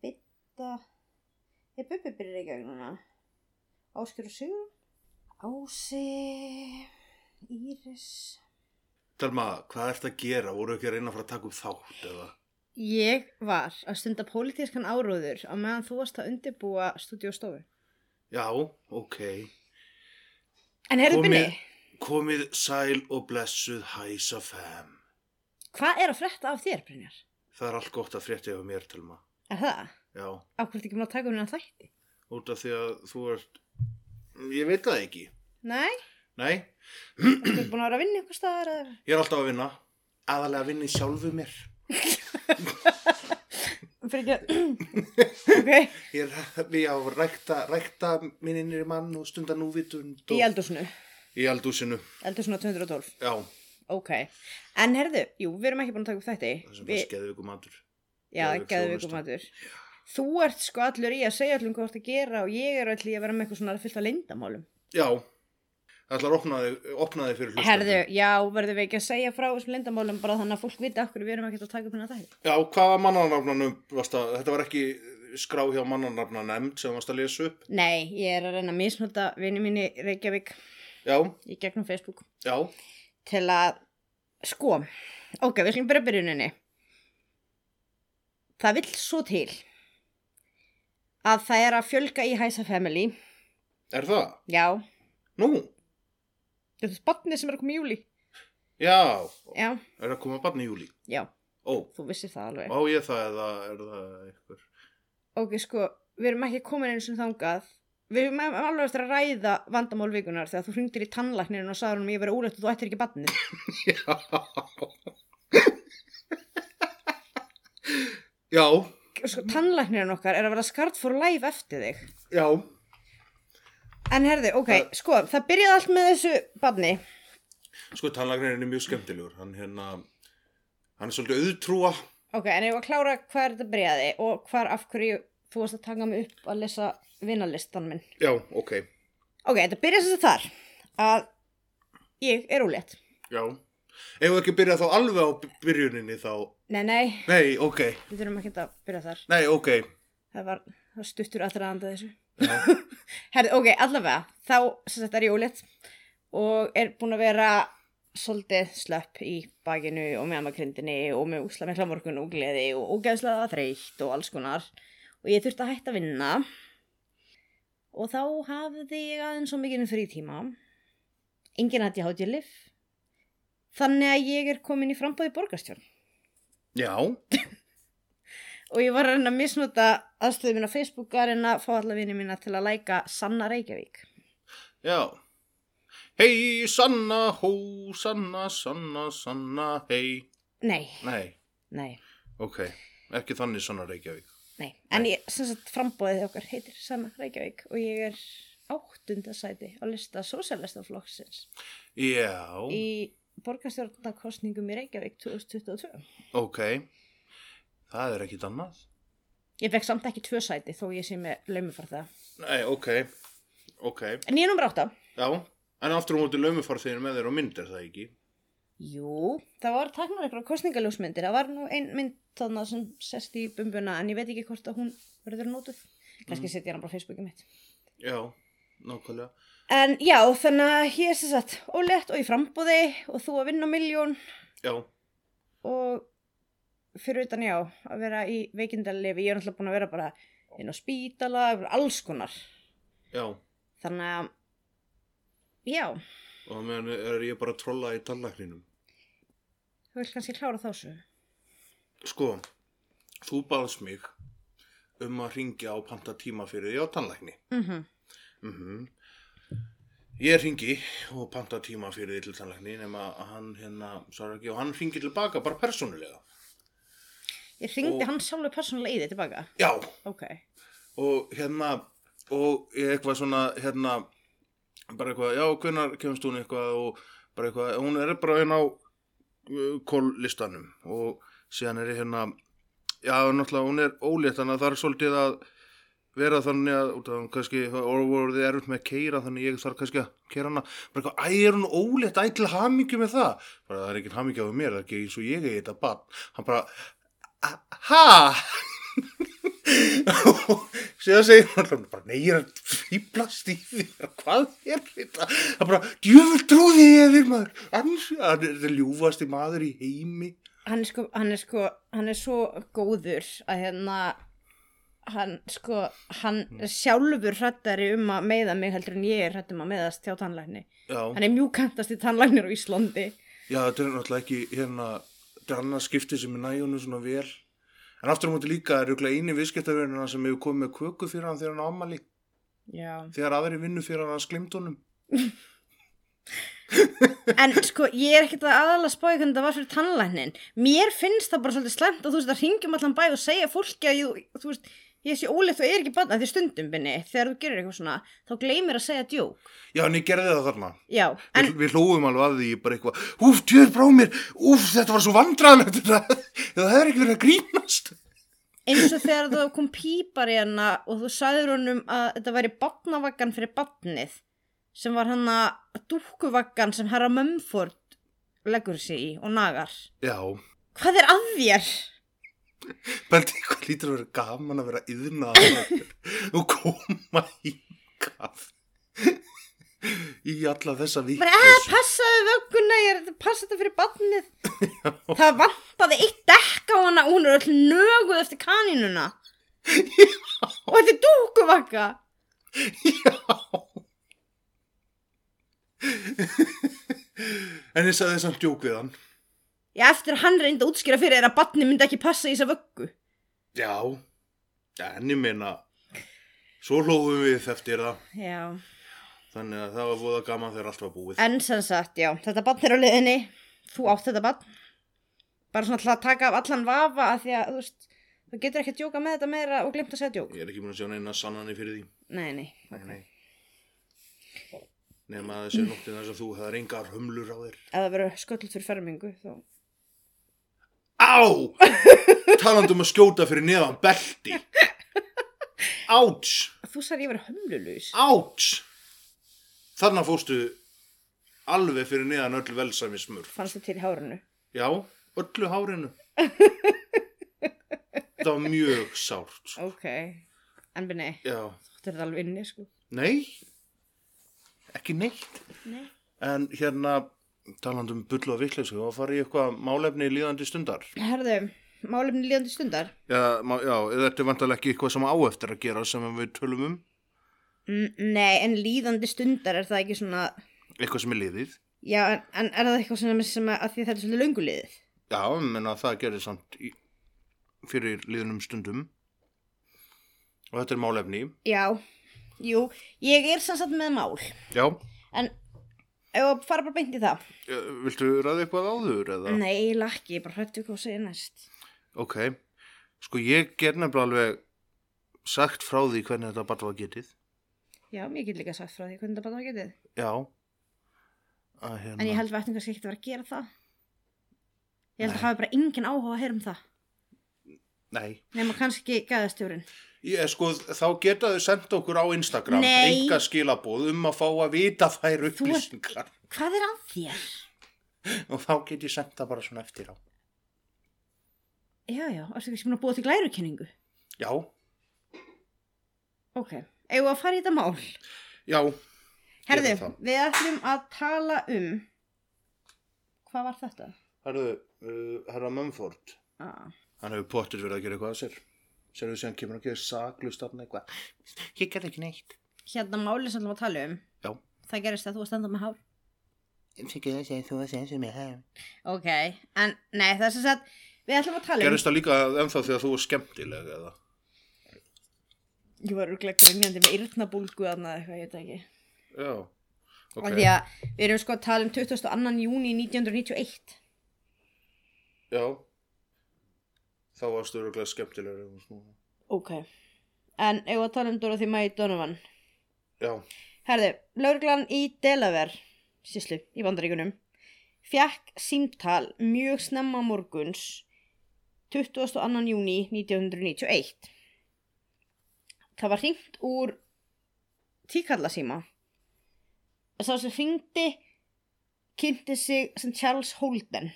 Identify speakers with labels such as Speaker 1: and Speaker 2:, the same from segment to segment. Speaker 1: Bidda Er Bubbi byrjar í gegn núna? Ásker og Sigur? Ási Íris
Speaker 2: Telma, hvað ert að gera? Voru ekki að reyna að fara að taka upp þátt eða?
Speaker 3: Ég var að stunda pólitískan áróður á meðan þú varst að undirbúa stúdíóstofu.
Speaker 2: Já, ok.
Speaker 3: En heyrðu
Speaker 2: Komið-
Speaker 3: Binni,
Speaker 2: Komið sæl og blessuð hæsa fem.
Speaker 3: hvað er að frétta af þér, Brynjar?
Speaker 2: Það er allt gott að frétta yfir mér, Telma.
Speaker 3: Er það?
Speaker 2: Já,
Speaker 3: Akkur ekki mér að taka um hennan þætti?
Speaker 2: út af því að þú ert... Ég veit það ekki.
Speaker 3: Nei,
Speaker 2: Nei,
Speaker 3: þú ert búin að vera að vinna ykkur staðar eða...
Speaker 2: ég er alltaf að vinna. Aðalega að vinna í sjálfu mér.
Speaker 3: Fyrir ekki að... ok,
Speaker 2: Ég er ég á að rækta, rækta minninir mann og stunda núvitund og...
Speaker 3: í eldúsinu.
Speaker 2: Í eldúsinu,
Speaker 3: Eldúsinu á 212.
Speaker 2: já.
Speaker 3: Ok. En heyrðu, jú, við erum ekki búin að taka upp þætti.
Speaker 2: Það sem
Speaker 3: Við-
Speaker 2: er skeðvíku matur.
Speaker 3: Já,
Speaker 2: Geðveik
Speaker 3: geðveikum
Speaker 2: þjónusta.
Speaker 3: matur. Þú ert sko allur í að segja allum hvað þú ert að gera og ég er allir í að vera með eitthvað svona fyllt af leyndamálum.
Speaker 2: Já, það ætlar að opna þig, opna þig fyrir hlustandi.
Speaker 3: Herðu, já, verðum við ekki að segja frá þessum lindamálum bara þannig að fólk viti okkur við erum ekkert að taka upp hérna þætti.
Speaker 2: Já, hvaða mannanafnanum varst að, þetta var ekki skrá hjá mannanafna nefnd sem varst að lesa upp.
Speaker 3: Nei, ég er að reyna að misnota vini mín í Reykjavík
Speaker 2: Já,
Speaker 3: í gegnum Facebook
Speaker 2: já,
Speaker 3: til að, sko, ok, við slum bara byrjuninni. Það vill svo til að það er að fjölga í Hæsa Family,
Speaker 2: er það?
Speaker 3: já,
Speaker 2: Nú,
Speaker 3: þetta er spannið sem er að koma í júli,
Speaker 2: já,
Speaker 3: já,
Speaker 2: er að koma barn í júli.
Speaker 3: já,
Speaker 2: Ó,
Speaker 3: þú vissir það alveg.
Speaker 2: á ég það eða er það eitthvað?
Speaker 3: ok, sko, við erum ekki komin einu sem þangað við erum alveg eftir að ræða vandamál vikunar þegar þú hringdir í tannlæknirinn og sagði hún ég verið ólætt og þú ættir ekki batnið
Speaker 2: Já. já,
Speaker 3: sko, tannlæknirinn okkar er að vera skart for life eftir þig
Speaker 2: já,
Speaker 3: en herði, ok,
Speaker 2: Það-
Speaker 3: sko, það byrjaði allt með þessu batni
Speaker 2: sko tannlagnirinn er mjög skemmtilegur, hann hérna, hann er svolítið auðtrúa.
Speaker 3: ok, en ég var að klára hvað er þetta byrjaði og hvar af hverju þú varst að taka mig upp að lesa vinalistan minn
Speaker 2: Já, ok,
Speaker 3: ok, þetta byrjaði sem þetta þar að ég er ólétt
Speaker 2: já. Ef við ekki byrja þá alveg á byrjuninni þá,
Speaker 3: nei, nei,
Speaker 2: nei, ok,
Speaker 3: við þurfum ekki að byrja þar
Speaker 2: nei, ok,
Speaker 3: það var, það var stuttur aðraðanda þessu
Speaker 2: já.
Speaker 3: Herði, ok, allavega, þá sem sagt er ég ólétt og er búin að vera svolítið slöpp í bakinu og með amakrindinni og með úsla með morgun og gleði og ógeðslega þreytt og alls konar og ég þurfti að hætta að vinna og þá hafði ég aðeins svo mikið frítíma enginn að ég hátt ég lif þannig að ég er komin í frambóði borgarstjórn
Speaker 2: Já,
Speaker 3: og ég var að reyna að misnota aðstöðu mín á Facebook að reyna að fá alla vini mína til að læka Sanna Reykjavík
Speaker 2: já. Hei, sanna, hó, sanna, sanna, sanna, hei.
Speaker 3: Nei,
Speaker 2: Nei,
Speaker 3: nei
Speaker 2: ok, ekki þannig sanna Reykjavík.
Speaker 3: Nei, en ég, sem sagt, frambóðið okkar heitir Sanna Reykjavík og ég er áttunda sæti á lista sósjálistaflokksins
Speaker 2: Já,
Speaker 3: í borgarstjórnarkostningum í Reykjavík 2022.
Speaker 2: ok, það er ekkit annað.
Speaker 3: Ég fekk samt ekki tvö sæti þó ég sé með laumufar það.
Speaker 2: Nei, ok, ok,
Speaker 3: En ég er nummer átta.
Speaker 2: já. En aftur á móti laumifarþegin með þér á mynd er það ekki?
Speaker 3: Jú, það var taknar eitthvað kostningaljósmyndir. Það var nú ein mynd þarna sem sest í bumbuna en ég veit ekki hvort að hún verður nótuð. Kannski mm. setja hann bara á Facebookið mitt.
Speaker 2: Já, nákvæmlega.
Speaker 3: En já, þannig að ég er sem sagt ólétt og í frambóði og þú að vinna á miljón
Speaker 2: Já,
Speaker 3: og fyrir utan já að vera í veikindalefi ég er náttúrulega búin að vera bara inn á spítala yfir alls konar
Speaker 2: já.
Speaker 3: þannig að já,
Speaker 2: Og það meðan er ég bara að trolla í tannlækninum.
Speaker 3: þú vil kannski klára þá svo
Speaker 2: Sko, þú baðst mig um að ringja og panta tíma fyrir því á tannlækni.
Speaker 3: mm -hmm.
Speaker 2: Mm Ég ringi og panta tíma fyrir því til tannlækni nema að hann hérna svarar ekki og hann ringir tilbaka bara persónulega.
Speaker 3: Ég ringdi
Speaker 2: Og-
Speaker 3: hann sjálfur persónulega í þig tilbaka.
Speaker 2: Já,
Speaker 3: Ok.
Speaker 2: og hérna, og ég eitthvað svona, hérna, bara eitthvað, já, hvenær kemst hún eitthvað og bara eitthvað, hún er bara hérna á uh, kóllistanum og síðan er ég hérna, já, náttúrulega, hún er ólétt, þannig að það er svolítið að vera þannig að, út af hún kannski, orðið er erfitt með að keira, þannig ég þarf kannski að keira hana, bara eitthvað, æ, er hún ólétt, æ, til hamingju með það, bara það er ekkert hamingju af mér, það er ekki eins og ég er þetta bann, hann bara, "A- ha, og síðan segir hann alltaf bara, nei, ég er að fýblast í þér, hvað er þetta? Það bara, djöfur trúði ég þér maður, hans, hann er það ljúfasti maður í heimi.
Speaker 3: hann er sko, hann er sko, hann er svo góður að hérna hann sko, hann er sjálfur hrættari um að meiða mig heldur en ég er hrætt um að meiðast hjá tannlækni.
Speaker 2: Já,
Speaker 3: Hann er mjúkantast í tannlæknir á Íslandi.
Speaker 2: já, þetta er náttúrulega ekki, hérna, þetta er annað skiptið sem er næjónu svona vel. En aftur á móti líka er auðvitað eini viðskiptaverðina sem hefur komið með köku fyrir hann þegar hann á ammali,
Speaker 3: Já.
Speaker 2: þegar aðri vinnu fyrir hann að sklimt honum.
Speaker 3: En sko, ég er ekkert að aðalega spáði hvernig það var fyrir tannlæknin. Mér finnst það bara svolítið slemt að þú veist að ringjum allan bæ og segja fólki að ég, þú veist, ég sé óleitt og er ekki bann að því stundum minni þegar þú gerir eitthvað svona, þá gleymir að segja djók.
Speaker 2: Já, en ég gerði það þarna.
Speaker 3: Já, en
Speaker 2: við, við hlóum alveg að því bara eitthvað, úf, djöður brá mér, úf, þetta var svo vandræðanlegt, þetta, það hefur ekki verið að grínast.
Speaker 3: eins og þegar þú kom pípar í hana og þú sagður honum að þetta væri batnavaggan fyrir batnið sem var hann að dúkkuvaggan sem herra Mumford leggur sig í og nagar
Speaker 2: Já,
Speaker 3: hvað er að þér?
Speaker 2: bælt eitthvað lítur að vera gaman að vera yðnaðar og koma hingað í alla þessa vík.
Speaker 3: bara "Ah, að passaðu vögguna ég er að passa þetta fyrir batnið það vantaði eitt dekk á hana og hún er öll nöguð eftir kanínuna og þetta er dúkkuvagga
Speaker 2: Já. en ég sagði samt djók við hann.
Speaker 3: já eftir að hann reyndi að útskýra fyrir þér að batnið myndi ekki passa í þessa vöggu
Speaker 2: Já, en ég meina, svo hlóum við eftir það.
Speaker 3: já
Speaker 2: Þannig að það var voða gaman þegar allt var búið.
Speaker 3: En sem sagt, já, þetta barn er á leiðinni, þú átt þetta barn, bara svona til að taka af allan vafa að því að, þú veist, þú getur ekki að djóka með þetta meira og glemt að segja djók.
Speaker 2: Ég er ekki búin að sjá neina sannanir fyrir því.
Speaker 3: Nei, nei, ok.
Speaker 2: Nei. Nefn að þessi nóttin þess að þú hefðar engar humlur á þér.
Speaker 3: Ef það verður sköllut fyrir fermingu, þá,
Speaker 2: Á! Talandi um að skjóta fyrir neðan belti. Áts!
Speaker 3: þú sagði ég verið hömlulus.
Speaker 2: Áts! Þannig fórstu alveg fyrir neðan öll velsæmi smurf.
Speaker 3: Fannst þið til í hárinu.
Speaker 2: Já, öllu hárinu. Það var mjög sárt.
Speaker 3: Ok, en byrni,
Speaker 2: Já.
Speaker 3: þetta er það alveg inni, sko.
Speaker 2: Nei, ekki neitt.
Speaker 3: Nei.
Speaker 2: En hérna, talandi um bull og vitleysu, þá farið ég eitthvað málefni í líðandi stundar.
Speaker 3: Herðu, málefni líðandi stundar?
Speaker 2: Já, má, já þetta er vantarlega ekki eitthvað sem á eftir að gera sem við tölum um,
Speaker 3: Mm, nei, en líðandi stundar er það ekki svona,
Speaker 2: eitthvað sem er liðið.
Speaker 3: já, en, en er það eitthvað svona sem að, að því þetta er svolítið lönguliðið?
Speaker 2: Já, menna það gerir samt í, fyrir liðnum stundum. Og þetta er málefni.
Speaker 3: Já, jú, ég er sem sagt með mál
Speaker 2: Já,
Speaker 3: En ef að fara bara beint í það
Speaker 2: eh, viltu ræða eitthvað áður eða?
Speaker 3: Nei, ég lakki, ég bara hrættu hvað þú segir næst
Speaker 2: Ok, sko ég ger nefnilega alveg sagt frá því hvernig þetta bara var getið.
Speaker 3: Já, ég get líka sagt frá því hvernig það bara getið
Speaker 2: Já. Að, hérna.
Speaker 3: En ég held við ættum kannski ekkert að vera að gera það Ég held
Speaker 2: Nei.
Speaker 3: að hafa bara engin áhuga að heyra um það
Speaker 2: Nei.
Speaker 3: Nefna kannski gæðastjórin
Speaker 2: Ég, sko, þá geta þau sendt okkur á Instagram
Speaker 3: Nei.
Speaker 2: enga skilabóð um að fá að vita þær
Speaker 3: Þú ert-
Speaker 2: upplýsingar
Speaker 3: Hvað er að þér?
Speaker 2: og þá get ég sendt það bara svona eftir á
Speaker 3: Já, já, ertu kannski búin að búa til glærukenningu
Speaker 2: Já,
Speaker 3: Ok, eigum við að fara í þetta mál
Speaker 2: já,
Speaker 3: Herðu,
Speaker 2: það.
Speaker 3: við ætlum að tala um Hvað var þetta?
Speaker 2: herðu, uh, herra Mumford
Speaker 3: Ah.
Speaker 2: hann hefur pottir verið að gera eitthvað að sér sér þau sem kemur að gera saklust þarna eitthvað Ég gerði ekki neitt
Speaker 3: Hérna málið sem við ætlum að tala um
Speaker 2: Já,
Speaker 3: það gerist að þú varst enda með hár
Speaker 4: Fiquei sem þú sem sem ég hef.
Speaker 3: ok, en nei það er sem sagt við ætlum að tala um
Speaker 2: gerist það líka ennþá þegar þú er skemmtileg eða
Speaker 3: ég var örglega grenjandi með yrnabólgu eða eitthvað, ég veit það ekki
Speaker 2: Já, ok
Speaker 3: okay. því að við erum sko að tala um 22. júni 1991
Speaker 2: Já þá varstu öruglega skemmtilegur ef hún snúið.
Speaker 3: Ok. En eigum við að tala um Dorothy May Donovan.
Speaker 2: Já,
Speaker 3: Herði, lauruglan í Delaware, síslu, í bandaríkunum, fjekk símtal mjög snemma morguns 22. júni 1991. Það var hringt úr tíkallasíma. Sá sem hringdi kynnti sig sem Charles Holden.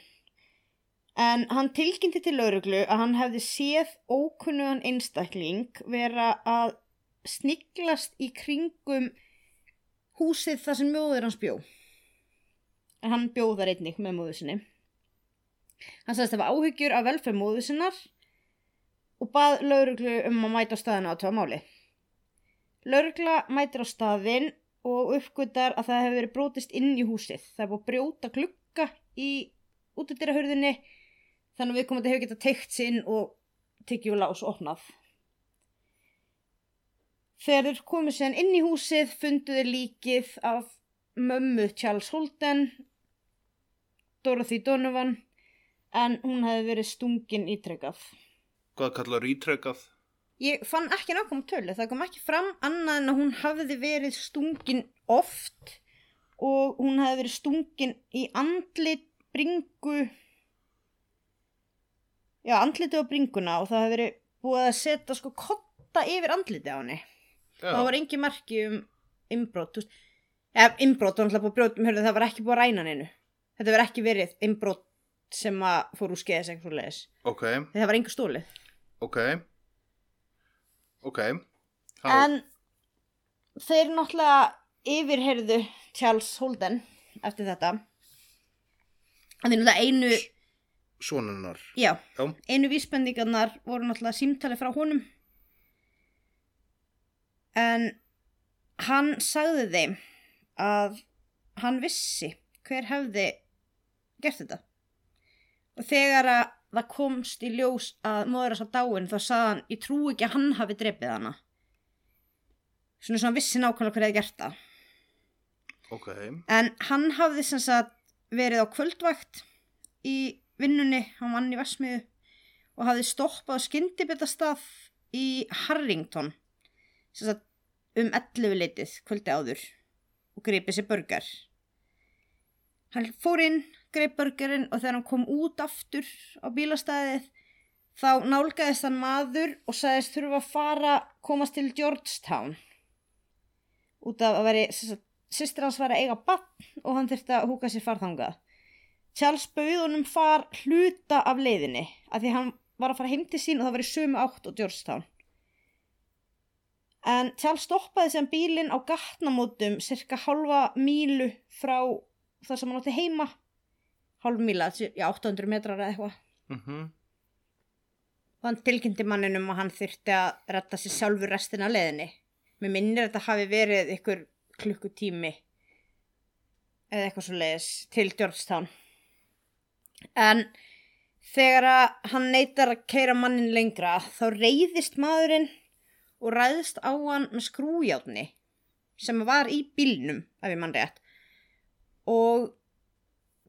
Speaker 3: En hann tilkynnti til lauruglu að hann hefði séð ókunnugan einstakling vera að sniglast í kringum húsið þar sem móður hans bjó en hann bjó þar einnig með móður sinni hann sagðist að hafa áhyggjur af velferð móður sinnar og bað lauruglu um að mæta á staðinu á tvað máli laurugla mætir á staðin og uppgötar að það hefur verið brotist inn í húsið það er búið að brjóta glugga í útidyrahurðinni þannig að viðkomandi hefur getað teikt sig inn og tekið úr lás og opnað Þegar þeir komu síðan inn í húsið fundu þeir líkið af mömmu Charles Holden, Dorothy Donovan, en hún hefði verið stungin ítrekkað.
Speaker 2: hvað kallar ítrekkað?
Speaker 3: Ég fann ekki nákvæm tölu, það kom ekki fram annað en að hún hafði verið stungin oft og hún hafði verið stungin í andlit, bringu, já andliti og bringuna og það hafði verið búið að setja sko kotta yfir andliti á henni.
Speaker 2: Já,
Speaker 3: það var engin merki um innbrot þú veist. eða innbrot, var náttúrulega búið að brjóta um hörðu, það var ekki búið að ræna neinu þetta verið ekki verið innbrot sem að fór úr skeiðis eitthvað leðis
Speaker 2: ok,
Speaker 3: það var engu stólið
Speaker 2: ok, ok, þá,
Speaker 3: en þeir náttúrulega yfirherðu Charles Holden eftir þetta en þeir náttúrulega einu
Speaker 2: sonunnar,
Speaker 3: já,
Speaker 2: já,
Speaker 3: einu vísbendingarnar voru náttúrulega símtali frá honum en hann sagði þeim að hann vissi hver hefði gert þetta og þegar að það komst í ljós að móður þess að dáin þá sagði hann ég trú ekki að hann hafi drepið hana svona sem hann vissi nákvæmlega hver hefði gert það
Speaker 2: ok,
Speaker 3: En hann hafði sem sagt verið á kvöldvægt í vinnunni, hann vann í Vestmiðu og hafði stoppað skyndibitastað í Harrington sem sagt um 11 litið kvöldi áður og greipið sér börgar. Hann fór inn, greip börgarinn og þegar hann kom út aftur á bílastæðið þá nálgæðist hann maður og sagðist þurfa að fara komast til Georgetown út af að veri sýstir hans var að eiga bann og hann þurfti að húka sér farþangað Charles bauð honum far hluta af leiðinni að því hann var að fara heim til sín og það var í sömu átt og Georgetown en Charles stoppaði sem bílinn á gatnamótum cirka halva mílu frá þar sem hann átti heima halv míla, já 800 metrar eða eitthvað
Speaker 2: mhm,
Speaker 3: og hann tilkynnti manninum að hann þyrfti að retta sér sjálfur restina af leiðinni. Mér minnir að þetta hafi verið ykkur klukkutími eða eitthvað svo leiðis til Georgetown. En þegar að hann neytar að keira mannin lengra þá reyðist maðurinn og ræðist á hann með skrújáttni sem var í bílnum, ef ég mann rétt. Og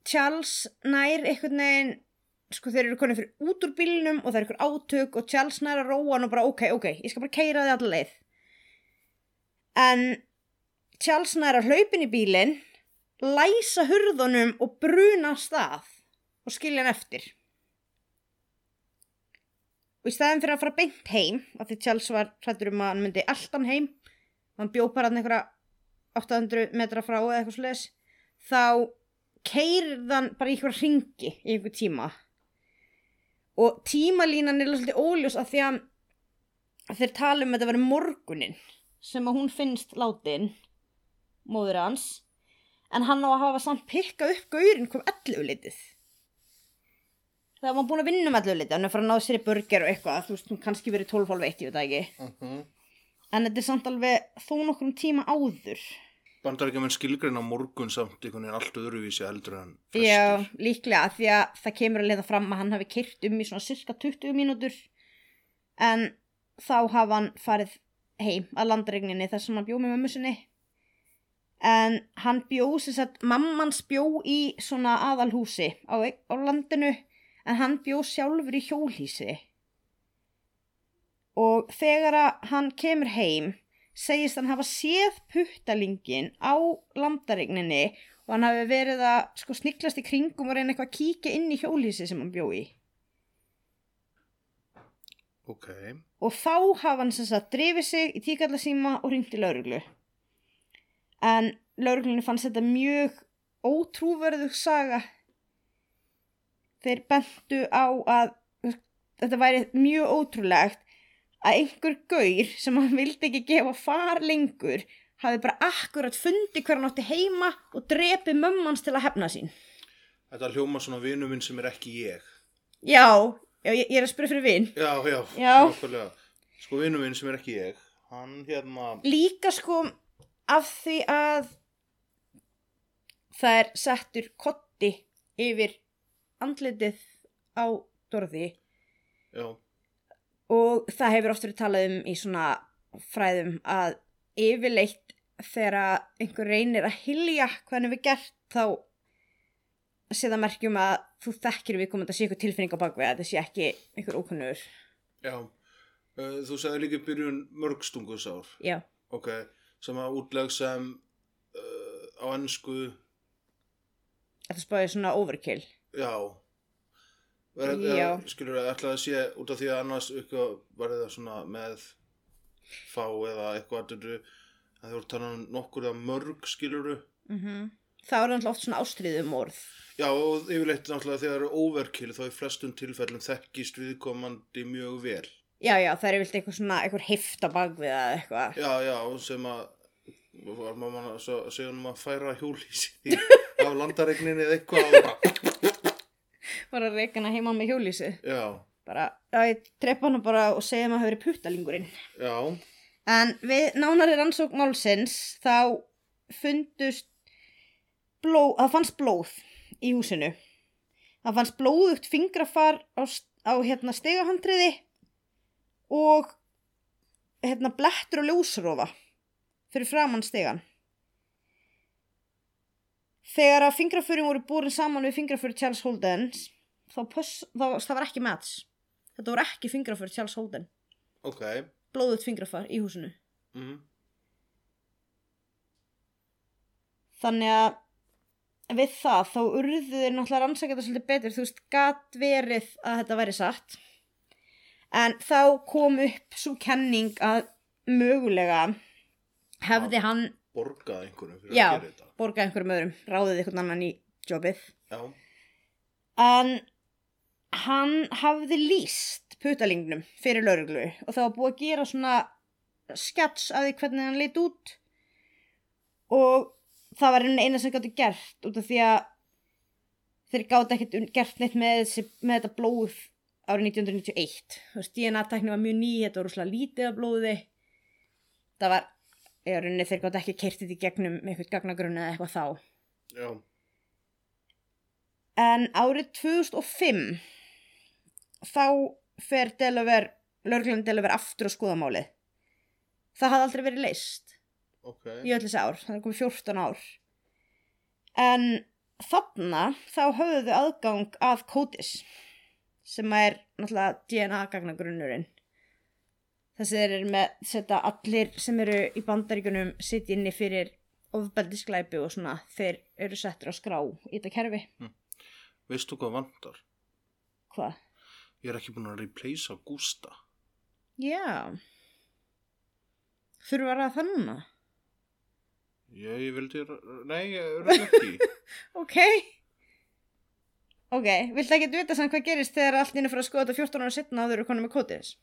Speaker 3: Charles nær einhvern veginn sko þeir eru konið fyrir út úr bílnum og það er ykkur átök og Charles nær að róa hann og bara ok, ok, ég skal bara keira þið allar leið en Charles nær að hlaupin í bílinn læsa hurðunum og bruna af stað og skilja hann eftir og í staðin fyrir að fara beint heim af því Charles var hrættur um að hann myndi alltan heim hann bjó bara hann einhverja 800 metra frá eða eitthvað slags þá keirðan bara í einhverja ringi í einhver tíma og tímalínan er svolítið óljós að því að að þeir tala um að þetta verið morgunin sem að hún finnst látin móður hans en hann á að hafa samt pikkað upp gaurinn kom ellulitið það var hann búin að vinna um ellulitið hann er farið að ná sér í burger og eitthvað þú veist, hún kannski verið 12 hálf veit, ég veit það ekki
Speaker 2: mhm.
Speaker 3: en þetta er samt alveg þó nokkrum tíma áður
Speaker 2: Bandarækjumenn skilgreina morgun samt einhvern veginn allt öðruvísi heldur en flestir.
Speaker 3: Já, líklega, af því að það kemur að leiða fram að hann hafi kyrt um í svona cirka 20 mínútur en þá hafa hann farið heim að landregninni þar sem hann bjó með mömmu sinni en hann bjó sem sagt, mammans bjó í e- svona aðalhúsi á, á landinu en hann bjó sjálfur í hjólhísi og þegar að hann kemur heim segist hann hafa séð puttalingin á landaregninni og hann hafi verið að sko sniklast í kringum og reyna eitthvað að kíkja inn í hjólísi sem hann bjó í
Speaker 2: Ok.
Speaker 3: og þá hafa hann sem sagt drifið sig í tíkallasíma og hringt í lauruglu en lauruglunni fannst þetta mjög ótrúverðug saga þeir bentu á að þetta væri mjög ótrúlegt að einhver gaur sem hann vildi ekki gefa far lengur hafi bara akkurat fundið hver hann átti heima og drepið mömmans til að hefna sín
Speaker 2: Þetta hljóma svona vinu minn sem er ekki ég.
Speaker 3: já, já ég, ég er að spyrja fyrir vin
Speaker 2: Já, já.
Speaker 3: Já.
Speaker 2: nákvæmlega. Sko vinu minn sem er ekki ég, hann hérna,
Speaker 3: líka sko af því að það er settur kotti yfir andlitið á Dorði
Speaker 2: já,
Speaker 3: og það hefur oft verið talað um í svona fræðum að yfirleitt þegar að einhver reynir að hilja hvað hann hefur gert þá sé það merkjum að þú þekkir við komandi að sé eitthvað tilfinning á bakvið að það sé ekki einhver ókunnur
Speaker 2: já. Uh, Þú sagði líka í byrjun mörgstungusár,
Speaker 3: já,
Speaker 2: ok, sem að útleg sem uh, á ennsku,
Speaker 3: þetta spáði svona overkill
Speaker 2: já. Er,
Speaker 3: Já.
Speaker 2: Skilur það, ætlaði að sé út af því að annars eitthvað var það svona með fá eða eitthvað aðtöru, að þú voru talað um nokkur eða mörg skiluru.
Speaker 3: mm það er náttúrulega oft svona ástriðum orð
Speaker 2: Já, og yfirleitt náttúrulega þegar það eru overkill þá í flestum tilfellum þekkist viðkomandi mjög vel.
Speaker 3: Já, já, það er vilt eitthvað svona, eitthvað hift á bakvið eða eitthvað.
Speaker 2: Já, já, sem að var maður að svo- segja honum að færa hjólísi af landaregninni eða eitthvað og bara,
Speaker 3: Bara reik hana heima með hjólísi.
Speaker 2: já,
Speaker 3: Bara, já, ég trepa hana bara og segja maður að hafa verið puttalingurinn.
Speaker 2: já,
Speaker 3: En við nánari rannsók málsins þá fundust blóð, það fannst blóð í húsinu. Það fannst blóðugt fingrafar á, s- á hérna stegahandriði og hérna blettur og ljósrofa fyrir framann stegan. Þegar að fingraförin voru búin saman við fingraförin Charles Holdens þá, pöss, þá það var ekki mats. Þetta voru ekki fingraförin Charles Holden.
Speaker 2: ok,
Speaker 3: Blóðugt fingrafar í húsinu.
Speaker 2: mm,
Speaker 3: þannig að við það þá urðu þeir náttúrulega rannsaka þetta svolítið betur þú veist, gat verið að þetta væri satt en þá kom upp svo kenning að mögulega hefði hann
Speaker 2: borgað einhvernum fyrir
Speaker 3: Já.
Speaker 2: að gera þetta.
Speaker 3: borgað einhverjum öðrum, ráðið einhvern annan í jobbið
Speaker 2: Já,
Speaker 3: en hann hafði líst putalingnum fyrir lauruglu og það var búið að gera svona skets að því hvernig hann leit út og það var einu eina sem gáttu gert út af því að þeir gáttu ekkert un- gert neitt með, þessi, með þetta blóð árið 1991 þú veist, DNA-tækni var mjög ný, þetta var rúslega lítið af blóði það var, ég rauninni þeir gáttu ekki kertið í gegnum með eitthvað gagnagrunni eða eitthvað þá
Speaker 2: já,
Speaker 3: En árið 2005 þá fer Delaver, lörglann Delaver aftur að skoða málið. Það hafði aldrei verið leist
Speaker 2: ok,
Speaker 3: í öll þessi ár, þannig komið 14 ár. En þarna þá höfðu þau aðgang að kótis sem er náttúrulega DNA-gagnagrunnurinn. Þessi þeir eru með setja allir sem eru í bandaríkunum sitt inni fyrir ofbeldisglæpi og svona þeir eru settur á skrá í þetta kerfi.
Speaker 2: veistu hvað vantar?
Speaker 3: Hvað?
Speaker 2: Ég er ekki búin að replacea Gústa.
Speaker 3: Já. Þurfa að ræða það núna?
Speaker 2: Já, ég vildi, nei, ég er ekki.
Speaker 3: Ok. Ok, viltu ekki vita samt hvað gerist þegar allt inni fyrir að skoða þetta 14 ára setna og þau eru konum með kótiðis?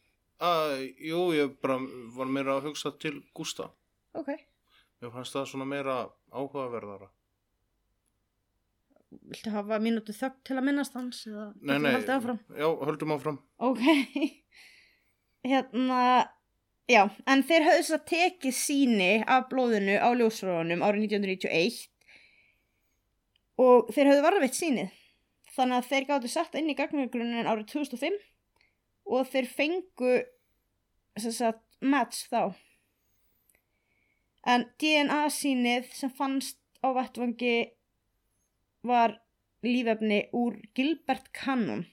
Speaker 2: Ah, jú, ég bara var meira að hugsa til Gústa.
Speaker 3: Ok.
Speaker 2: Mér fannst það svona meira áhugaverðara.
Speaker 3: Viltu hafa mínútu þögn til að minnast hans eða
Speaker 2: Nei,
Speaker 3: getum
Speaker 2: nei,
Speaker 3: haldið áfram?
Speaker 2: já, höldum áfram.
Speaker 3: Ok. Hérna, já, en þeir höfðu þess að tekið síni af blóðinu á ljósróðunum árið 1991 og þeir höfðu varðveitt sínið. Þannig að þeir gáttu sett inn í gagnagrunin árið 2005 og þeir fengu sem sagt match þá. En DNA sínið sem fannst á vettvangi var lífefni úr Gilbert Cannon.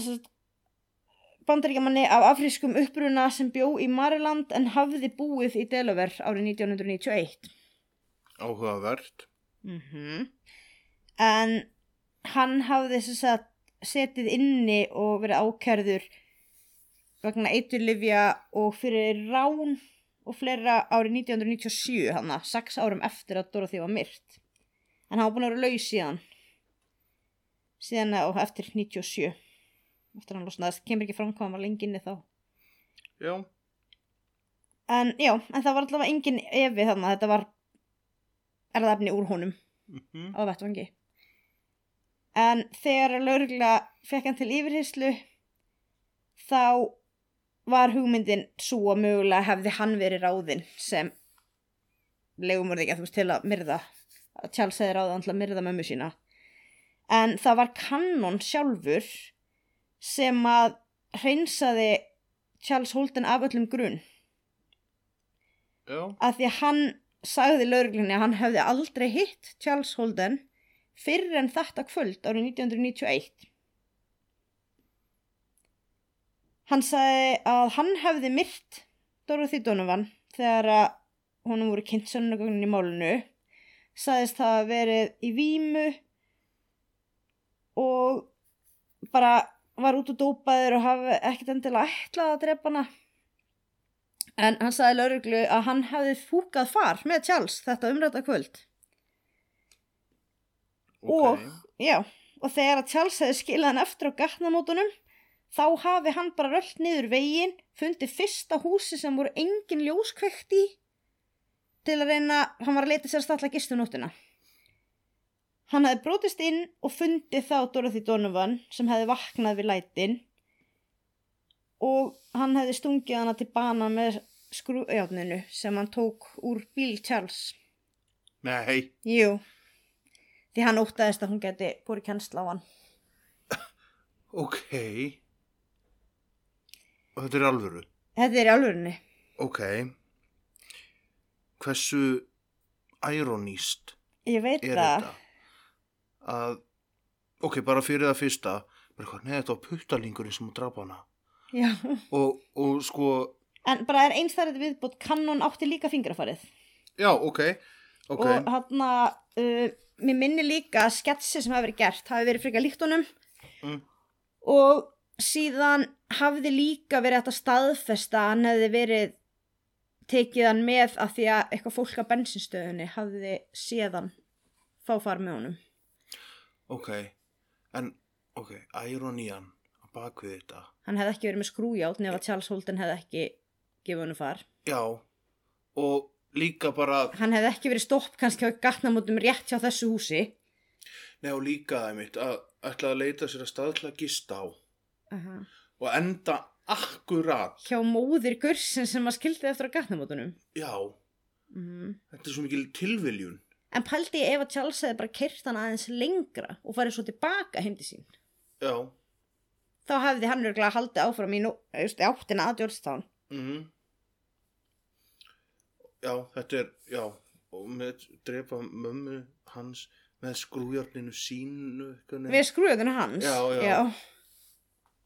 Speaker 3: Sem sagt, bandaríkjamanni af afrískum uppruna sem bjó í Maryland en hafði búið í Delaware árið 1991.
Speaker 2: áhugavert.
Speaker 3: Mm En hann hafði sem sagt setið inni og verið ákærður vegna eiturlifja og fyrir rán og fleira árið 1997 hann að sex árum eftir að Dorothy var myrt. En hann var búin að vera laus síðan síðan og eftir 97 eftir að hann losnaðist, kemur ekki fram hvað hann var lengi inni þá.
Speaker 2: Já,
Speaker 3: En já, en það var allavega engin efi þannig að þetta var erðafni úr honum.
Speaker 2: mm
Speaker 3: á vettvangi. En þegar laurugla fekk hann til yfirhyslu þá var hugmyndin svo að mögulega hefði hann verið ráðinn sem legumörðingja þú veist til að myrða að Charles hefði ráðan til að myrða mömmu sína en það var kannon sjálfur sem að hreinsaði Charles Holden af öllum grunn
Speaker 2: já,
Speaker 3: að því að hann sagði lauruglunni að hann hefði aldrei hitt Charles Holden fyrir en þetta kvöld árið 1991. Hann sagði að hann hefði myrt Dorothy Donovan þegar að honum voru kynnt sönnugögnin í málinu sagðist það hafa verið í vímu og bara var út og dópaður og hafi ekkert endilega ætlað að drepa hana En hann sagði lauruglu að hann hefði fúkað far með Charles þetta umræta kvöld.
Speaker 2: ok.
Speaker 3: Já, og þegar að Charles hefði skilað hann eftir á gatnamótunum, þá hafi hann bara röllt niður veginn, fundið fyrsta húsi sem voru engin ljóskvekt í til að reyna, hann var að leita sér að stalla gistunóttina. Hann hefði brotist inn og fundið þá Dorothy Donovan sem hefði vaknað við lætin og hann hefði stungið hana til bana með skrújárninu sem hann tók úr bíl Charles.
Speaker 2: Nei,
Speaker 3: Jú, því hann óttaðist að hún geti búið kennsla á hann.
Speaker 2: ok. Og þetta er alvöru.
Speaker 3: Þetta er í alvörinni.
Speaker 2: Ok. Hversu ironíst
Speaker 3: Ég veit
Speaker 2: er
Speaker 3: það.
Speaker 2: þetta? Að, ok, bara fyrir það fyrsta, bara hvað, neða þetta var puttalingurinn sem að drapa hana.
Speaker 3: Já.
Speaker 2: Og, og sko,
Speaker 3: En bara er eins þar þetta viðbútt kannon átti líka fingrafarið.
Speaker 2: já, ok, ok,
Speaker 3: Og hann að, uh, mér minni líka að sketsi sem hafi verið gert, hafi verið frekar líkt honum.
Speaker 2: Mm.
Speaker 3: Og síðan hafði líka verið þetta staðfesta að hann hefði verið tekið hann með að því að eitthvað fólk á bensinstöðunni hafði séðan fáfar með honum.
Speaker 2: ok. En, ok, ironían á bakvið þetta.
Speaker 3: hann hefði ekki verið með skrújátt nefn að Charles Holden hefði ekki gefið hann far.
Speaker 2: Já, og líka bara,
Speaker 3: Hann hefði ekki verið stopp kannski á gatnamótum rétt hjá þessu húsi.
Speaker 2: neða og líka það mitt, að ætla að leita sér að staðla gista á og enda akkurat,
Speaker 3: Hjá móðir Gursin sem að skildi eftir á gatnamótunum.
Speaker 2: já,
Speaker 3: Mm.
Speaker 2: þetta er svo mikil tilviljun.
Speaker 3: En pældi ég ef að Charles hefði bara kyrt hann aðeins lengra og farið svo tilbaka heim til sín.
Speaker 2: Já,
Speaker 3: Þá hefði hann örgulega haldið áfram í nú, just, í áttina að Georgetown.
Speaker 2: mhm. Já, þetta er, já, og með drepa mömmu hans með skrújarninu sínu,
Speaker 3: Við
Speaker 2: hvernig,
Speaker 3: skrújóttunum hans.
Speaker 2: Já, já.
Speaker 3: já.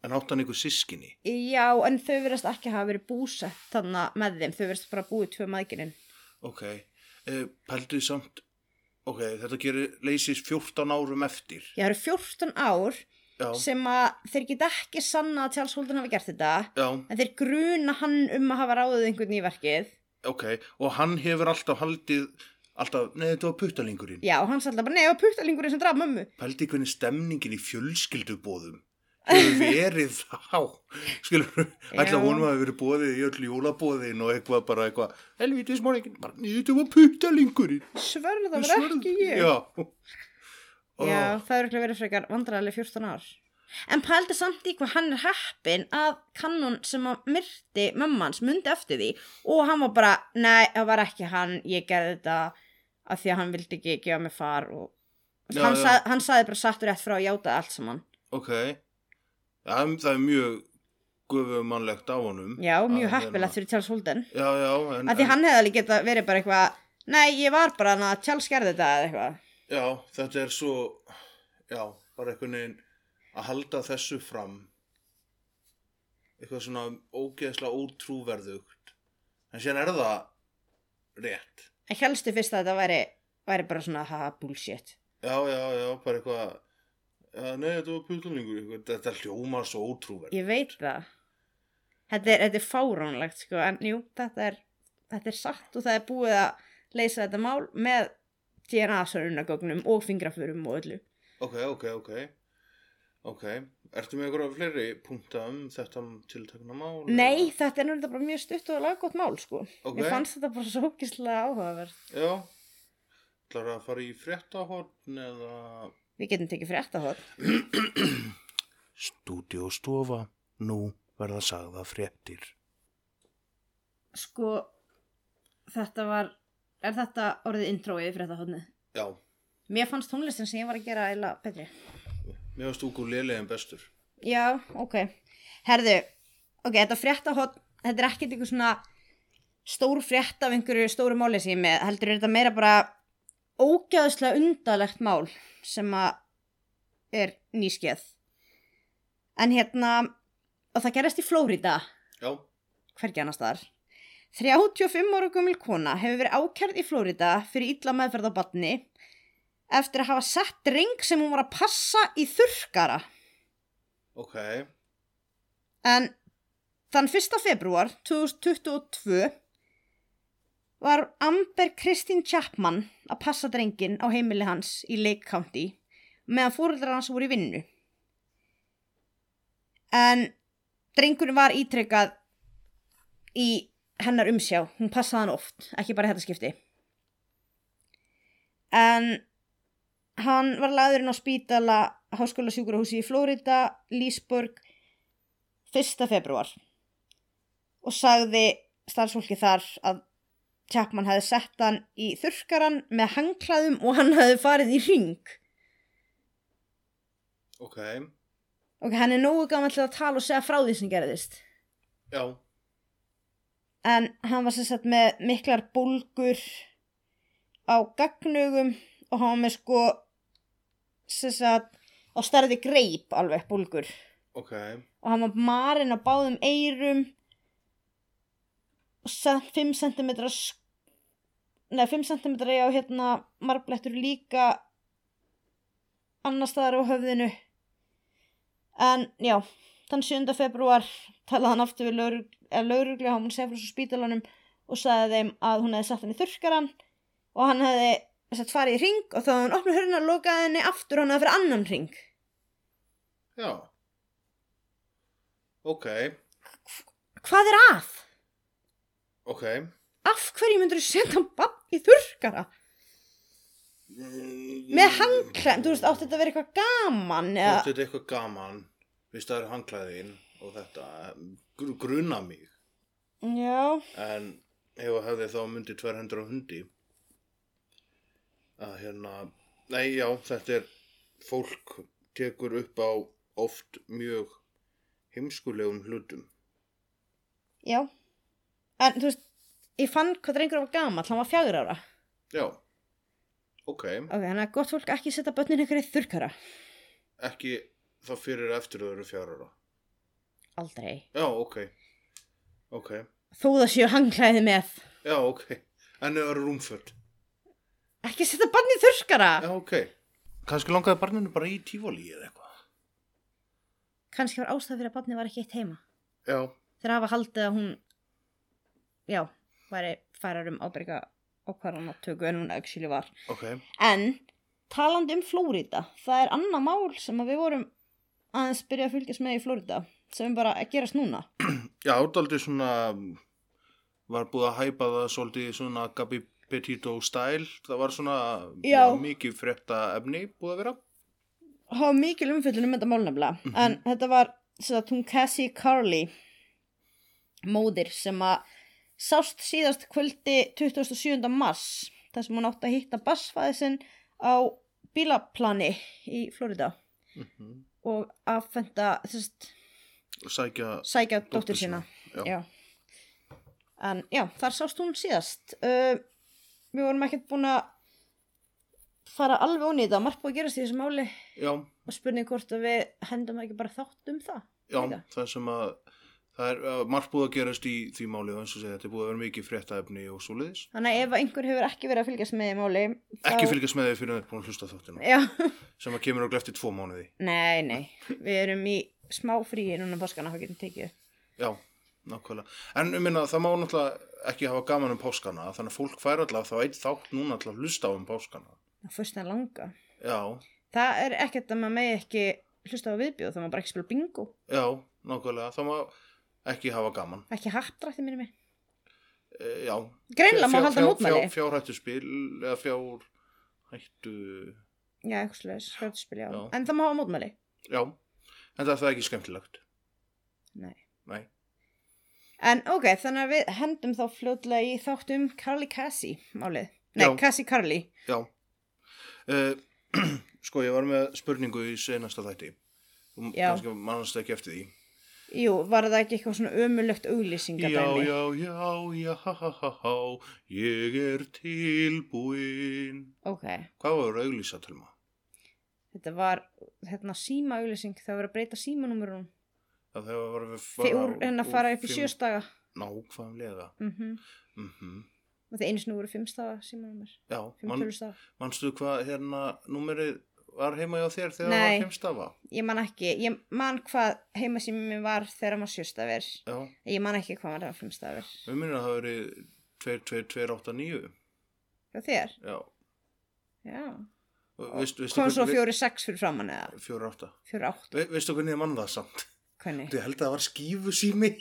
Speaker 2: en átt hann ykkur sískinni.
Speaker 3: Já, en þau verðast ekki hafa verið búsett þannig með þeim. Þau verðast bara búið tvö maðgininn.
Speaker 2: Ok, uh, pælduð samt, ok, þetta gerir leysist 14 árum eftir.
Speaker 3: Ég eru 14 ár
Speaker 2: Já,
Speaker 3: sem að þeir get ekki sanna að Charles Holden hafi gert þetta
Speaker 2: já,
Speaker 3: en þeir gruna hann um að hafa ráðið einhvern í verkið
Speaker 2: ok, og hann hefur alltaf haldið, alltaf, neða þetta var puttalingurinn.
Speaker 3: já og hann sagði bara neða puttalingurinn sem draf mömmu
Speaker 2: Pældi hvernig stemningin í fjölskyldubóðum hefur verið þá skilur, ætla
Speaker 3: Já.
Speaker 2: honum að hafa verið bóðið í öll jólabóðin og eitthvað bara eitthvað, helvítið smorgin bara nýttu var puttalingurinn
Speaker 3: svörð það var ekki ég
Speaker 2: já,
Speaker 3: já
Speaker 2: Ó,
Speaker 3: það eru ekki verið frekar vandræðileg 14 ár en pældi samt í hvað hann er heppin að kannon sem að myrti mömmans myndi eftir því og hann var bara nei það var ekki hann ég gerði þetta af því að hann vildi ekki gefa mig far og
Speaker 2: Já,
Speaker 3: hann,
Speaker 2: já.
Speaker 3: Sað, hann saði bara sattur rétt frá að játa allt saman
Speaker 2: ok það, er- það er mjög gufumannlegt af honum
Speaker 3: já mjög
Speaker 2: Ah, Að
Speaker 3: heppilegt fyrir Charles Holden
Speaker 2: hérna- já, já, en,
Speaker 3: að því hann hefði alveg geta verið bara eitthvað nei, ég var bara hann að Charles gerði þetta eða eitthvað
Speaker 2: já, þetta er svo já, bara einhvern veginn að halda þessu fram eitthvað svona ógeðslega ótrúverðugt en síðan er það rétt
Speaker 3: En helstu fyrst að þetta væri, væri bara svona haha bullshit.
Speaker 2: já, já, já, bara eitthvað já, nei, þetta var putulningur eitthvað. þetta hljómar svo ótrúverð
Speaker 3: Ég veit það. Þetta er, þetta er fáránlegt sko, en jú, þetta er, þetta er satt og það er búið að leysa þetta mál með DNA-sörunagögnum og fingrafurum og öllu.
Speaker 2: ok, ok, ok ok, ertu með eitthvað fleiri punkta um þetta tiltakna mál
Speaker 3: Nei,
Speaker 2: eða?
Speaker 3: þetta er náttúrulega bara mjög stutt og laggótt mál sko.
Speaker 2: ok,
Speaker 3: Mér fannst þetta bara svo ógislega áhugaverð.
Speaker 2: já ætlar að fara í fréttahorn eða
Speaker 3: Við getum tekið frétta hótt.
Speaker 2: stúdíu og stofa nú verða sagða fréttir
Speaker 3: Sko, þetta var, er þetta orðið introið í frétta hóttni?
Speaker 2: já,
Speaker 3: Mér fannst tónlistin sem ég var að gera eila betri.
Speaker 2: mér varst úkur lélegin bestur
Speaker 3: Já, ok. Herðu, ok, þetta fréttahotn, þetta er ekkert einhver svona stór frétt af einhverju stóru máli sem ég er með, heldur er þetta meira bara ógæðslega undarlegt mál sem að er nýskeið. En hérna, og það gerist í Flórida,
Speaker 2: já,
Speaker 3: hvergi annars þar. 35 ára gömul kona hefur verið ákærð í Flórida fyrir illa meðferð á batni eftir að hafa sett dreng sem hún var að passa í þurrkara.
Speaker 2: ok
Speaker 3: En þann 1. februar 2022 var Amber Kristín Chapman að passa drengin á heimili hans í Lake County meðan fóreldrar hans voru í vinnu. En drengurinn var ítrekkað í hennar umsjá. Hún passaði hann oft, ekki bara í þetta skipti. En hann var lagðurinn á spítala háskóla sjúkurahúsi í Flórida, Leesburg 1. februar og sagði starfsfólki þar að Chapman hefði sett hann í þurrkaran með hangklaðum og hann hefði farið í ring.
Speaker 2: ok,
Speaker 3: Og hann er nógu gaman til að tala og segja frá því sem gerðist.
Speaker 2: já,
Speaker 3: En hann var sem sagt með miklar bólgur á gagnugum og hann var með sko sem sagt á stærði greip alveg bólgur.
Speaker 2: ok
Speaker 3: og hann var marinn á báðum eyrum og samt 5 cm neða 5 cm á hérna marblettur líka annar staðar á höfðinu en já þann 7. februar talaði hann aftur við lauruglu hann segi frá svo spítalanum og sagði þeim að hún hefði sett hann í þurrkaran og hann hefði sett farið í ring og þá hafði hann opnað hörna og lokaði henni aftur og hann hefði fyrir annan ring
Speaker 2: já ok,
Speaker 3: hvað er að?
Speaker 2: ok
Speaker 3: af hverju myndur þú setja hann bann í þurrkara með
Speaker 2: Mm.
Speaker 3: hangklæm, þú veist, átti þetta að vera eitthvað gaman eða,
Speaker 2: Þetta er eitthvað gaman Vist það eru hangklæðin og þetta gr gruna mig
Speaker 3: já,
Speaker 2: en ef að hefði þá myndi tvær hendur á hundi að hérna nei já þetta er fólk tekur upp á oft mjög heimskulegum hlutum
Speaker 3: já en þú veist, ég fann hvað drengur var gaman, hann var fjagur ára
Speaker 2: já ok
Speaker 3: ok, þannig að gott fólk ekki setja börnin ykkur í þurrkara
Speaker 2: ekki þá fyrir eða eftir þau eru fjárara
Speaker 3: aldrei,
Speaker 2: já ok ok
Speaker 3: þó það séu hangklæði með
Speaker 2: já ok en þau eru rúmföld
Speaker 3: ekki setja bann í þurrkara
Speaker 2: já ok kannski langaði barninu bara í tífóli eða eitthvað
Speaker 3: kannski var ástæð fyrir að bannin var ekki eitt heima
Speaker 2: já
Speaker 3: þegar hafa haldið að hún já, væri færar um ábyrga ákvarðanatöku en hún actually var
Speaker 2: ok
Speaker 3: En talandi um Flórida, það er annað mál sem að við vorum aðeins byrja að fylgjast með í Flórida sem er bara að gerast núna.
Speaker 2: Já, daldið svona var búið að hæpa það svolítið svona Gabi Petito stæl það var svona
Speaker 3: Já.
Speaker 2: mikið frétta efni búið að vera
Speaker 3: Það var mikil umfyllun um þetta mál nefnilega, en þetta var sem sagt hún Cassie Carly, móðir sem að sást síðast kvöldi 27. mars, þar sem hún átti að hitta bassfæði sinn á bílaplani í Flórida
Speaker 2: mm
Speaker 3: og aðfenda, þessast,
Speaker 2: Sækja
Speaker 3: sækja
Speaker 2: dóttur
Speaker 3: dóttur sína.
Speaker 2: Já.
Speaker 3: já. En já, þar sást hún síðast. Uh, við vorum ekkert búin að fara alveg ón í þetta. Margt búið að gerast í þessu máli
Speaker 2: Já,
Speaker 3: og spurning hvort að við hendum ekki bara þátt um það.
Speaker 2: já
Speaker 3: Líka.
Speaker 2: það sem að það er uh, margt búið að gerast í því máli og eins og segja þetta er búið að vera mikið fréttaefni og svo leiðis
Speaker 3: Þannig að ef einhver hefur ekki verið að fylgjast með í máli þá...
Speaker 2: ekki fylgjast með því fyrir að það er búin að hlusta á þáttina
Speaker 3: Já,
Speaker 2: sem að kemur á glefti tvo mánuði
Speaker 3: nei, nei Við erum í smá fríi núna um páskana þá getum tekið upp.
Speaker 2: já, nákvæmlega en um minna það má náttúrulega ekki hafa gaman um páskana þannig að fólk fær alltaf þá eitt þátt núna alltaf hlusta á um páskana
Speaker 3: Ná, Fyrst að langa
Speaker 2: já,
Speaker 3: Það er ekkert að maður megi ekki hlusta á viðbjóð þá maður bara ekki spila bingo
Speaker 2: já, nákvæmlega það má ekki hafa gaman
Speaker 3: Ekki hattrætti minni mig
Speaker 2: e, já,
Speaker 3: Greinlega má
Speaker 2: Fjár-
Speaker 3: halda
Speaker 2: fjár-
Speaker 3: mótmæli
Speaker 2: fjár- fjárhættu spil eða fjár hættu
Speaker 3: Já, eitthvað slags, hrjóttuspil, já.
Speaker 2: Já.
Speaker 3: En það má hafa mótmæli
Speaker 2: já, en það er ekki skemmtilegt
Speaker 3: Nei
Speaker 2: nei,
Speaker 3: En ok, þannig að við hendum þá fljótlega í þáttum Carly Cassie málið. Nei,
Speaker 2: Já.
Speaker 3: Cassie Carly.
Speaker 2: já e, sko ég var með spurningu í senasta þætti og
Speaker 3: Já.
Speaker 2: kannski mannast ekki eftir því
Speaker 3: Jú, var það ekki eitthvað svona ömulögt
Speaker 2: já,
Speaker 3: auglýsingadæmi?
Speaker 2: já, já, já, ha, ha, ha, ha ég er tilbúin
Speaker 3: Ok,
Speaker 2: hvað var að auglýsa til maður?
Speaker 3: þetta var hérna síma auglýsing, það var að breyta símanúmerunum.
Speaker 2: það þegar var að fara
Speaker 3: Fjór, en hérna að fara upp í sjöstaga.
Speaker 2: nákvæmlega
Speaker 3: Mm
Speaker 2: mm
Speaker 3: Og það einu sinni voru fimmstaga símanúmer,
Speaker 2: já,
Speaker 3: fimm
Speaker 2: mann
Speaker 3: tölustaga.
Speaker 2: Manstu hvað hérna númerið var heima hjá þér þegar það
Speaker 3: Nei.
Speaker 2: var heimstafa?
Speaker 3: Ég man ekki, ég man hvað heimasími minn var þegar maður sjöstafir.
Speaker 2: Já,
Speaker 3: Ég man ekki hvað maður var fimmstafir.
Speaker 2: við minnum að það hafi verið 2289.
Speaker 3: Já, þér?
Speaker 2: Já,
Speaker 3: Já.
Speaker 2: Og veist, veistu
Speaker 3: Kom svo
Speaker 2: hvern-
Speaker 3: fjóri sex fyrir framann eða?
Speaker 2: vi- fjóra átta.
Speaker 3: Fjóri átt,
Speaker 2: Ve, veistu hvernig ég mann það samt?
Speaker 3: hvernig?
Speaker 2: Ég held að það var skífu sími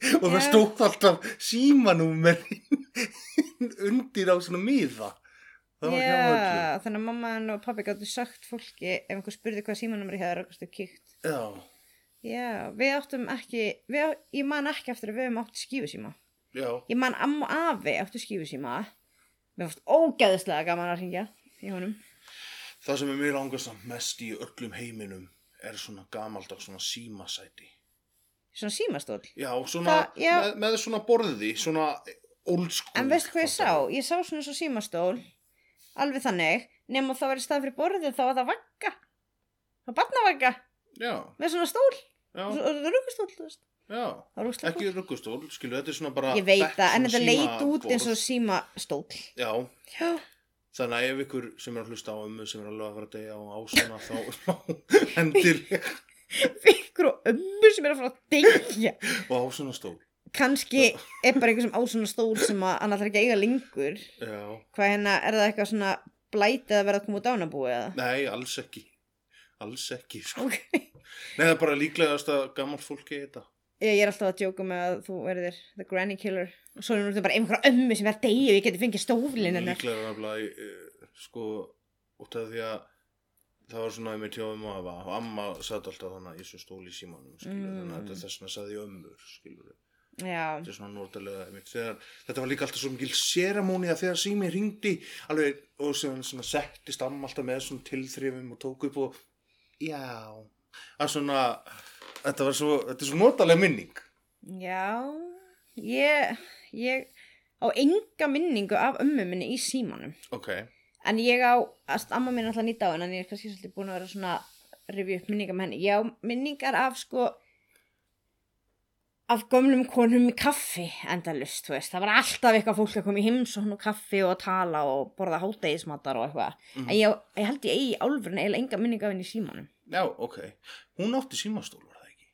Speaker 2: og það
Speaker 3: Já.
Speaker 2: stóð alltaf símanúmer undir á svona miða. Það var hjá öllu.
Speaker 3: Já, þannig að mamma henn og pappi gáttu sagt fólki ef einhver spurði hvað símanumri hefur og stu kíkt.
Speaker 2: Já,
Speaker 3: Já, við áttum ekki, við, á- ég man ekki eftir að við höfum átt skífusíma.
Speaker 2: já,
Speaker 3: Ég man amma og afi áttu skífusíma. Mér fannst ógæðislega gaman að hringja í honum.
Speaker 2: það sem er mér langast samt mest í öllum heiminum er svona gamaldags svona símasæti.
Speaker 3: Svona símastól.
Speaker 2: Já, svona,
Speaker 3: Það- já.
Speaker 2: Með, með svona borði, svona old school.
Speaker 3: En veistu hvað ég sá? Ég sá svona svo símastól, alveg þannig, nema þá verið stað fyrir borðið þá var það vagga. Það var barnavagga
Speaker 2: Já,
Speaker 3: með svona stól,
Speaker 2: já,
Speaker 3: rúkustól, þú veist.
Speaker 2: já.
Speaker 3: Það var rúkustól.
Speaker 2: Ekki ruggustól, skilu, þetta er svona bara...
Speaker 3: Ég veit
Speaker 2: bekk,
Speaker 3: það, en
Speaker 2: svona
Speaker 3: þetta leit út
Speaker 2: símaborð.
Speaker 3: eins og símastól.
Speaker 2: Já,
Speaker 3: Já.
Speaker 2: þannig að ef ykkur sem er að hlusta á ömmu sem er alveg að fara að deyja á ásana þá hendir
Speaker 3: Fikkur og ömmu sem er að fara að deyja.
Speaker 2: á ásana stól.
Speaker 3: Kanski er bara einhver sem á svona stól sem að hann ætlar ekki að eiga lengur.
Speaker 2: Já,
Speaker 3: Hvað hérna, er það eitthvað svona blætið að vera að koma út ánabúi eða?
Speaker 2: nei, alls ekki. Alls ekki, sko.
Speaker 3: Ok.
Speaker 2: Nei, það er bara líklegast að gammal fólki þetta.
Speaker 3: Ég, ég er alltaf að djóka með að þú verðir the granny killer. Og svo er nú þetta bara einhverja ömmu sem er að deyja og ég geti fengið stóflinn hennar.
Speaker 2: Líklega er nefnilega, eh, sko, út af því að það var svona með tjóðum og afa og amma satt alltaf þannig að ég svo stóli í símanum, skilur,
Speaker 3: Mm.
Speaker 2: þannig að þetta er þess vegna saði ég ömmur, skilur,
Speaker 3: Já,
Speaker 2: þetta er svona nordalega einmitt, þegar, þetta var líka alltaf svo mikil seramóni að þegar sími ringdi alveg og sem svona settist amma alltaf með svona tilþrifum og tók upp og já, að svona, þetta var svo, þetta er svo nordalega minning,
Speaker 3: já, ég, ég á enga minningu af ömmu minni í símanum.
Speaker 2: ok,
Speaker 3: En ég á, að amma mín er alltaf nýtt á henni, en ég er kannski svolítið búin að vera svona að rifja upp minningar með henni. Ég á minningar af sko, af gömlum konum í kaffi endalust, þú veist. Það var alltaf eitthvað fólk að koma í heimsókn og kaffi og að tala og borða hátegismatar og eitthvað.
Speaker 2: Mhm.
Speaker 3: En ég, á- ég held ég eigi í álfurinn eiginlega enga minningar af henni í símanum.
Speaker 2: já, ok, hún átti símastól, var það ekki?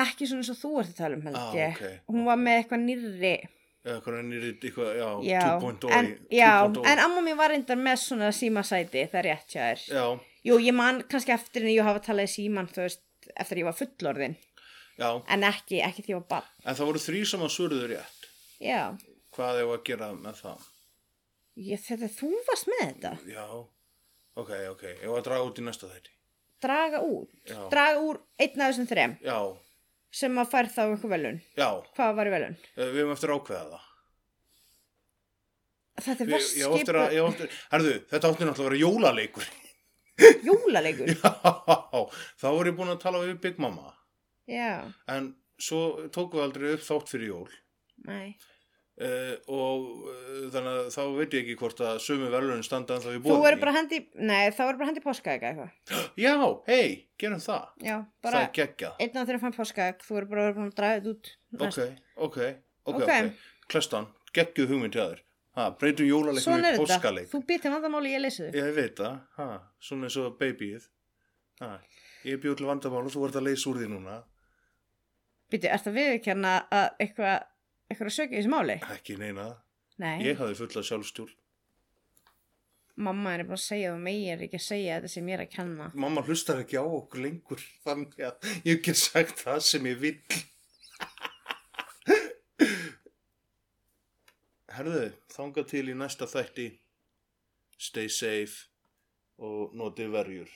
Speaker 3: Ekki svona eins og þú ert að tala um,
Speaker 2: Ah,
Speaker 3: held ég.
Speaker 2: ok.
Speaker 3: Hún var með eitthvað nýrri,
Speaker 2: eða hvernig nýri eitthvað, já,
Speaker 3: já,
Speaker 2: 2.0
Speaker 3: en, já,
Speaker 2: 2.0.
Speaker 3: en amma mín var reyndar með svona símasæti, það er rétt hjá þér.
Speaker 2: já,
Speaker 3: Jú, ég man kannski eftir en ég hafa talað í síman, þú veist, eftir að ég var fullorðin,
Speaker 2: já,
Speaker 3: en ekki, ekki því ég var barn.
Speaker 2: en það voru þrý sem að svörðu rétt
Speaker 3: Já,
Speaker 2: hvað hefur að gera með það
Speaker 3: ég, þetta, þú varst með þetta.
Speaker 2: já, ok, ok ég var að draga út í næsta þætti
Speaker 3: Draga úr,
Speaker 2: Já.
Speaker 3: draga úr einn af þessum þrem
Speaker 2: já,
Speaker 3: sem að fær þá eitthvað velun.
Speaker 2: já,
Speaker 3: Hvað var í velun?
Speaker 2: eh, við höfum eftir að ákveða það
Speaker 3: Þetta
Speaker 2: Við-
Speaker 3: var
Speaker 2: ég á eftir að,
Speaker 3: skipur
Speaker 2: ég á eftir, herðu, þetta átti náttúrulega að vera jólaleikur
Speaker 3: jólalegur.
Speaker 2: já, þá voru ég búin að tala við Big Mama
Speaker 3: Já,
Speaker 2: en svo tókum við aldrei upp þátt fyrir jól
Speaker 3: nei.
Speaker 2: Uh, og uh, þannig að þá veit ég ekki hvort að sömu verðlun standa en þá ég
Speaker 3: Þú
Speaker 2: bóði
Speaker 3: verður bara hendi, nei, þá verður bara hendi páskaðega eitthvað.
Speaker 2: Já, hei, gerum það
Speaker 3: Já, bara
Speaker 2: Það er geggjað
Speaker 3: einn af þeirra fann páskaðeg, þú verður bara verður búin að draga þetta út.
Speaker 2: Ok,
Speaker 3: næst.
Speaker 2: ok, ok,
Speaker 3: Ok.
Speaker 2: ok Klestan, geggjuð hugmynd hjá þér ha, Breytum jólaleiknum
Speaker 3: Svona
Speaker 2: í
Speaker 3: er þetta,
Speaker 2: póskaleik
Speaker 3: þú býtir vandamáli, ég leysi þau.
Speaker 2: Ég veit það, ha, svona eins og babyið ha, Ég bjóð til vandamál og þú vart að leysa úr því núna
Speaker 3: Býtir, er það viðkjarna að eitthvað, eitthvað sökja í þessu máli?
Speaker 2: Ekki neina,
Speaker 3: Nei,
Speaker 2: ég hafði fulla sjálfstjórn
Speaker 3: mamma er bara að segja þú meir ekki að segja þetta sem ég er að kenna.
Speaker 2: Mamma hlustar ekki á okkur lengur þannig að ég get sagt það sem ég vill Herðu, þanga til í næsta þætti Stay safe og notið verjur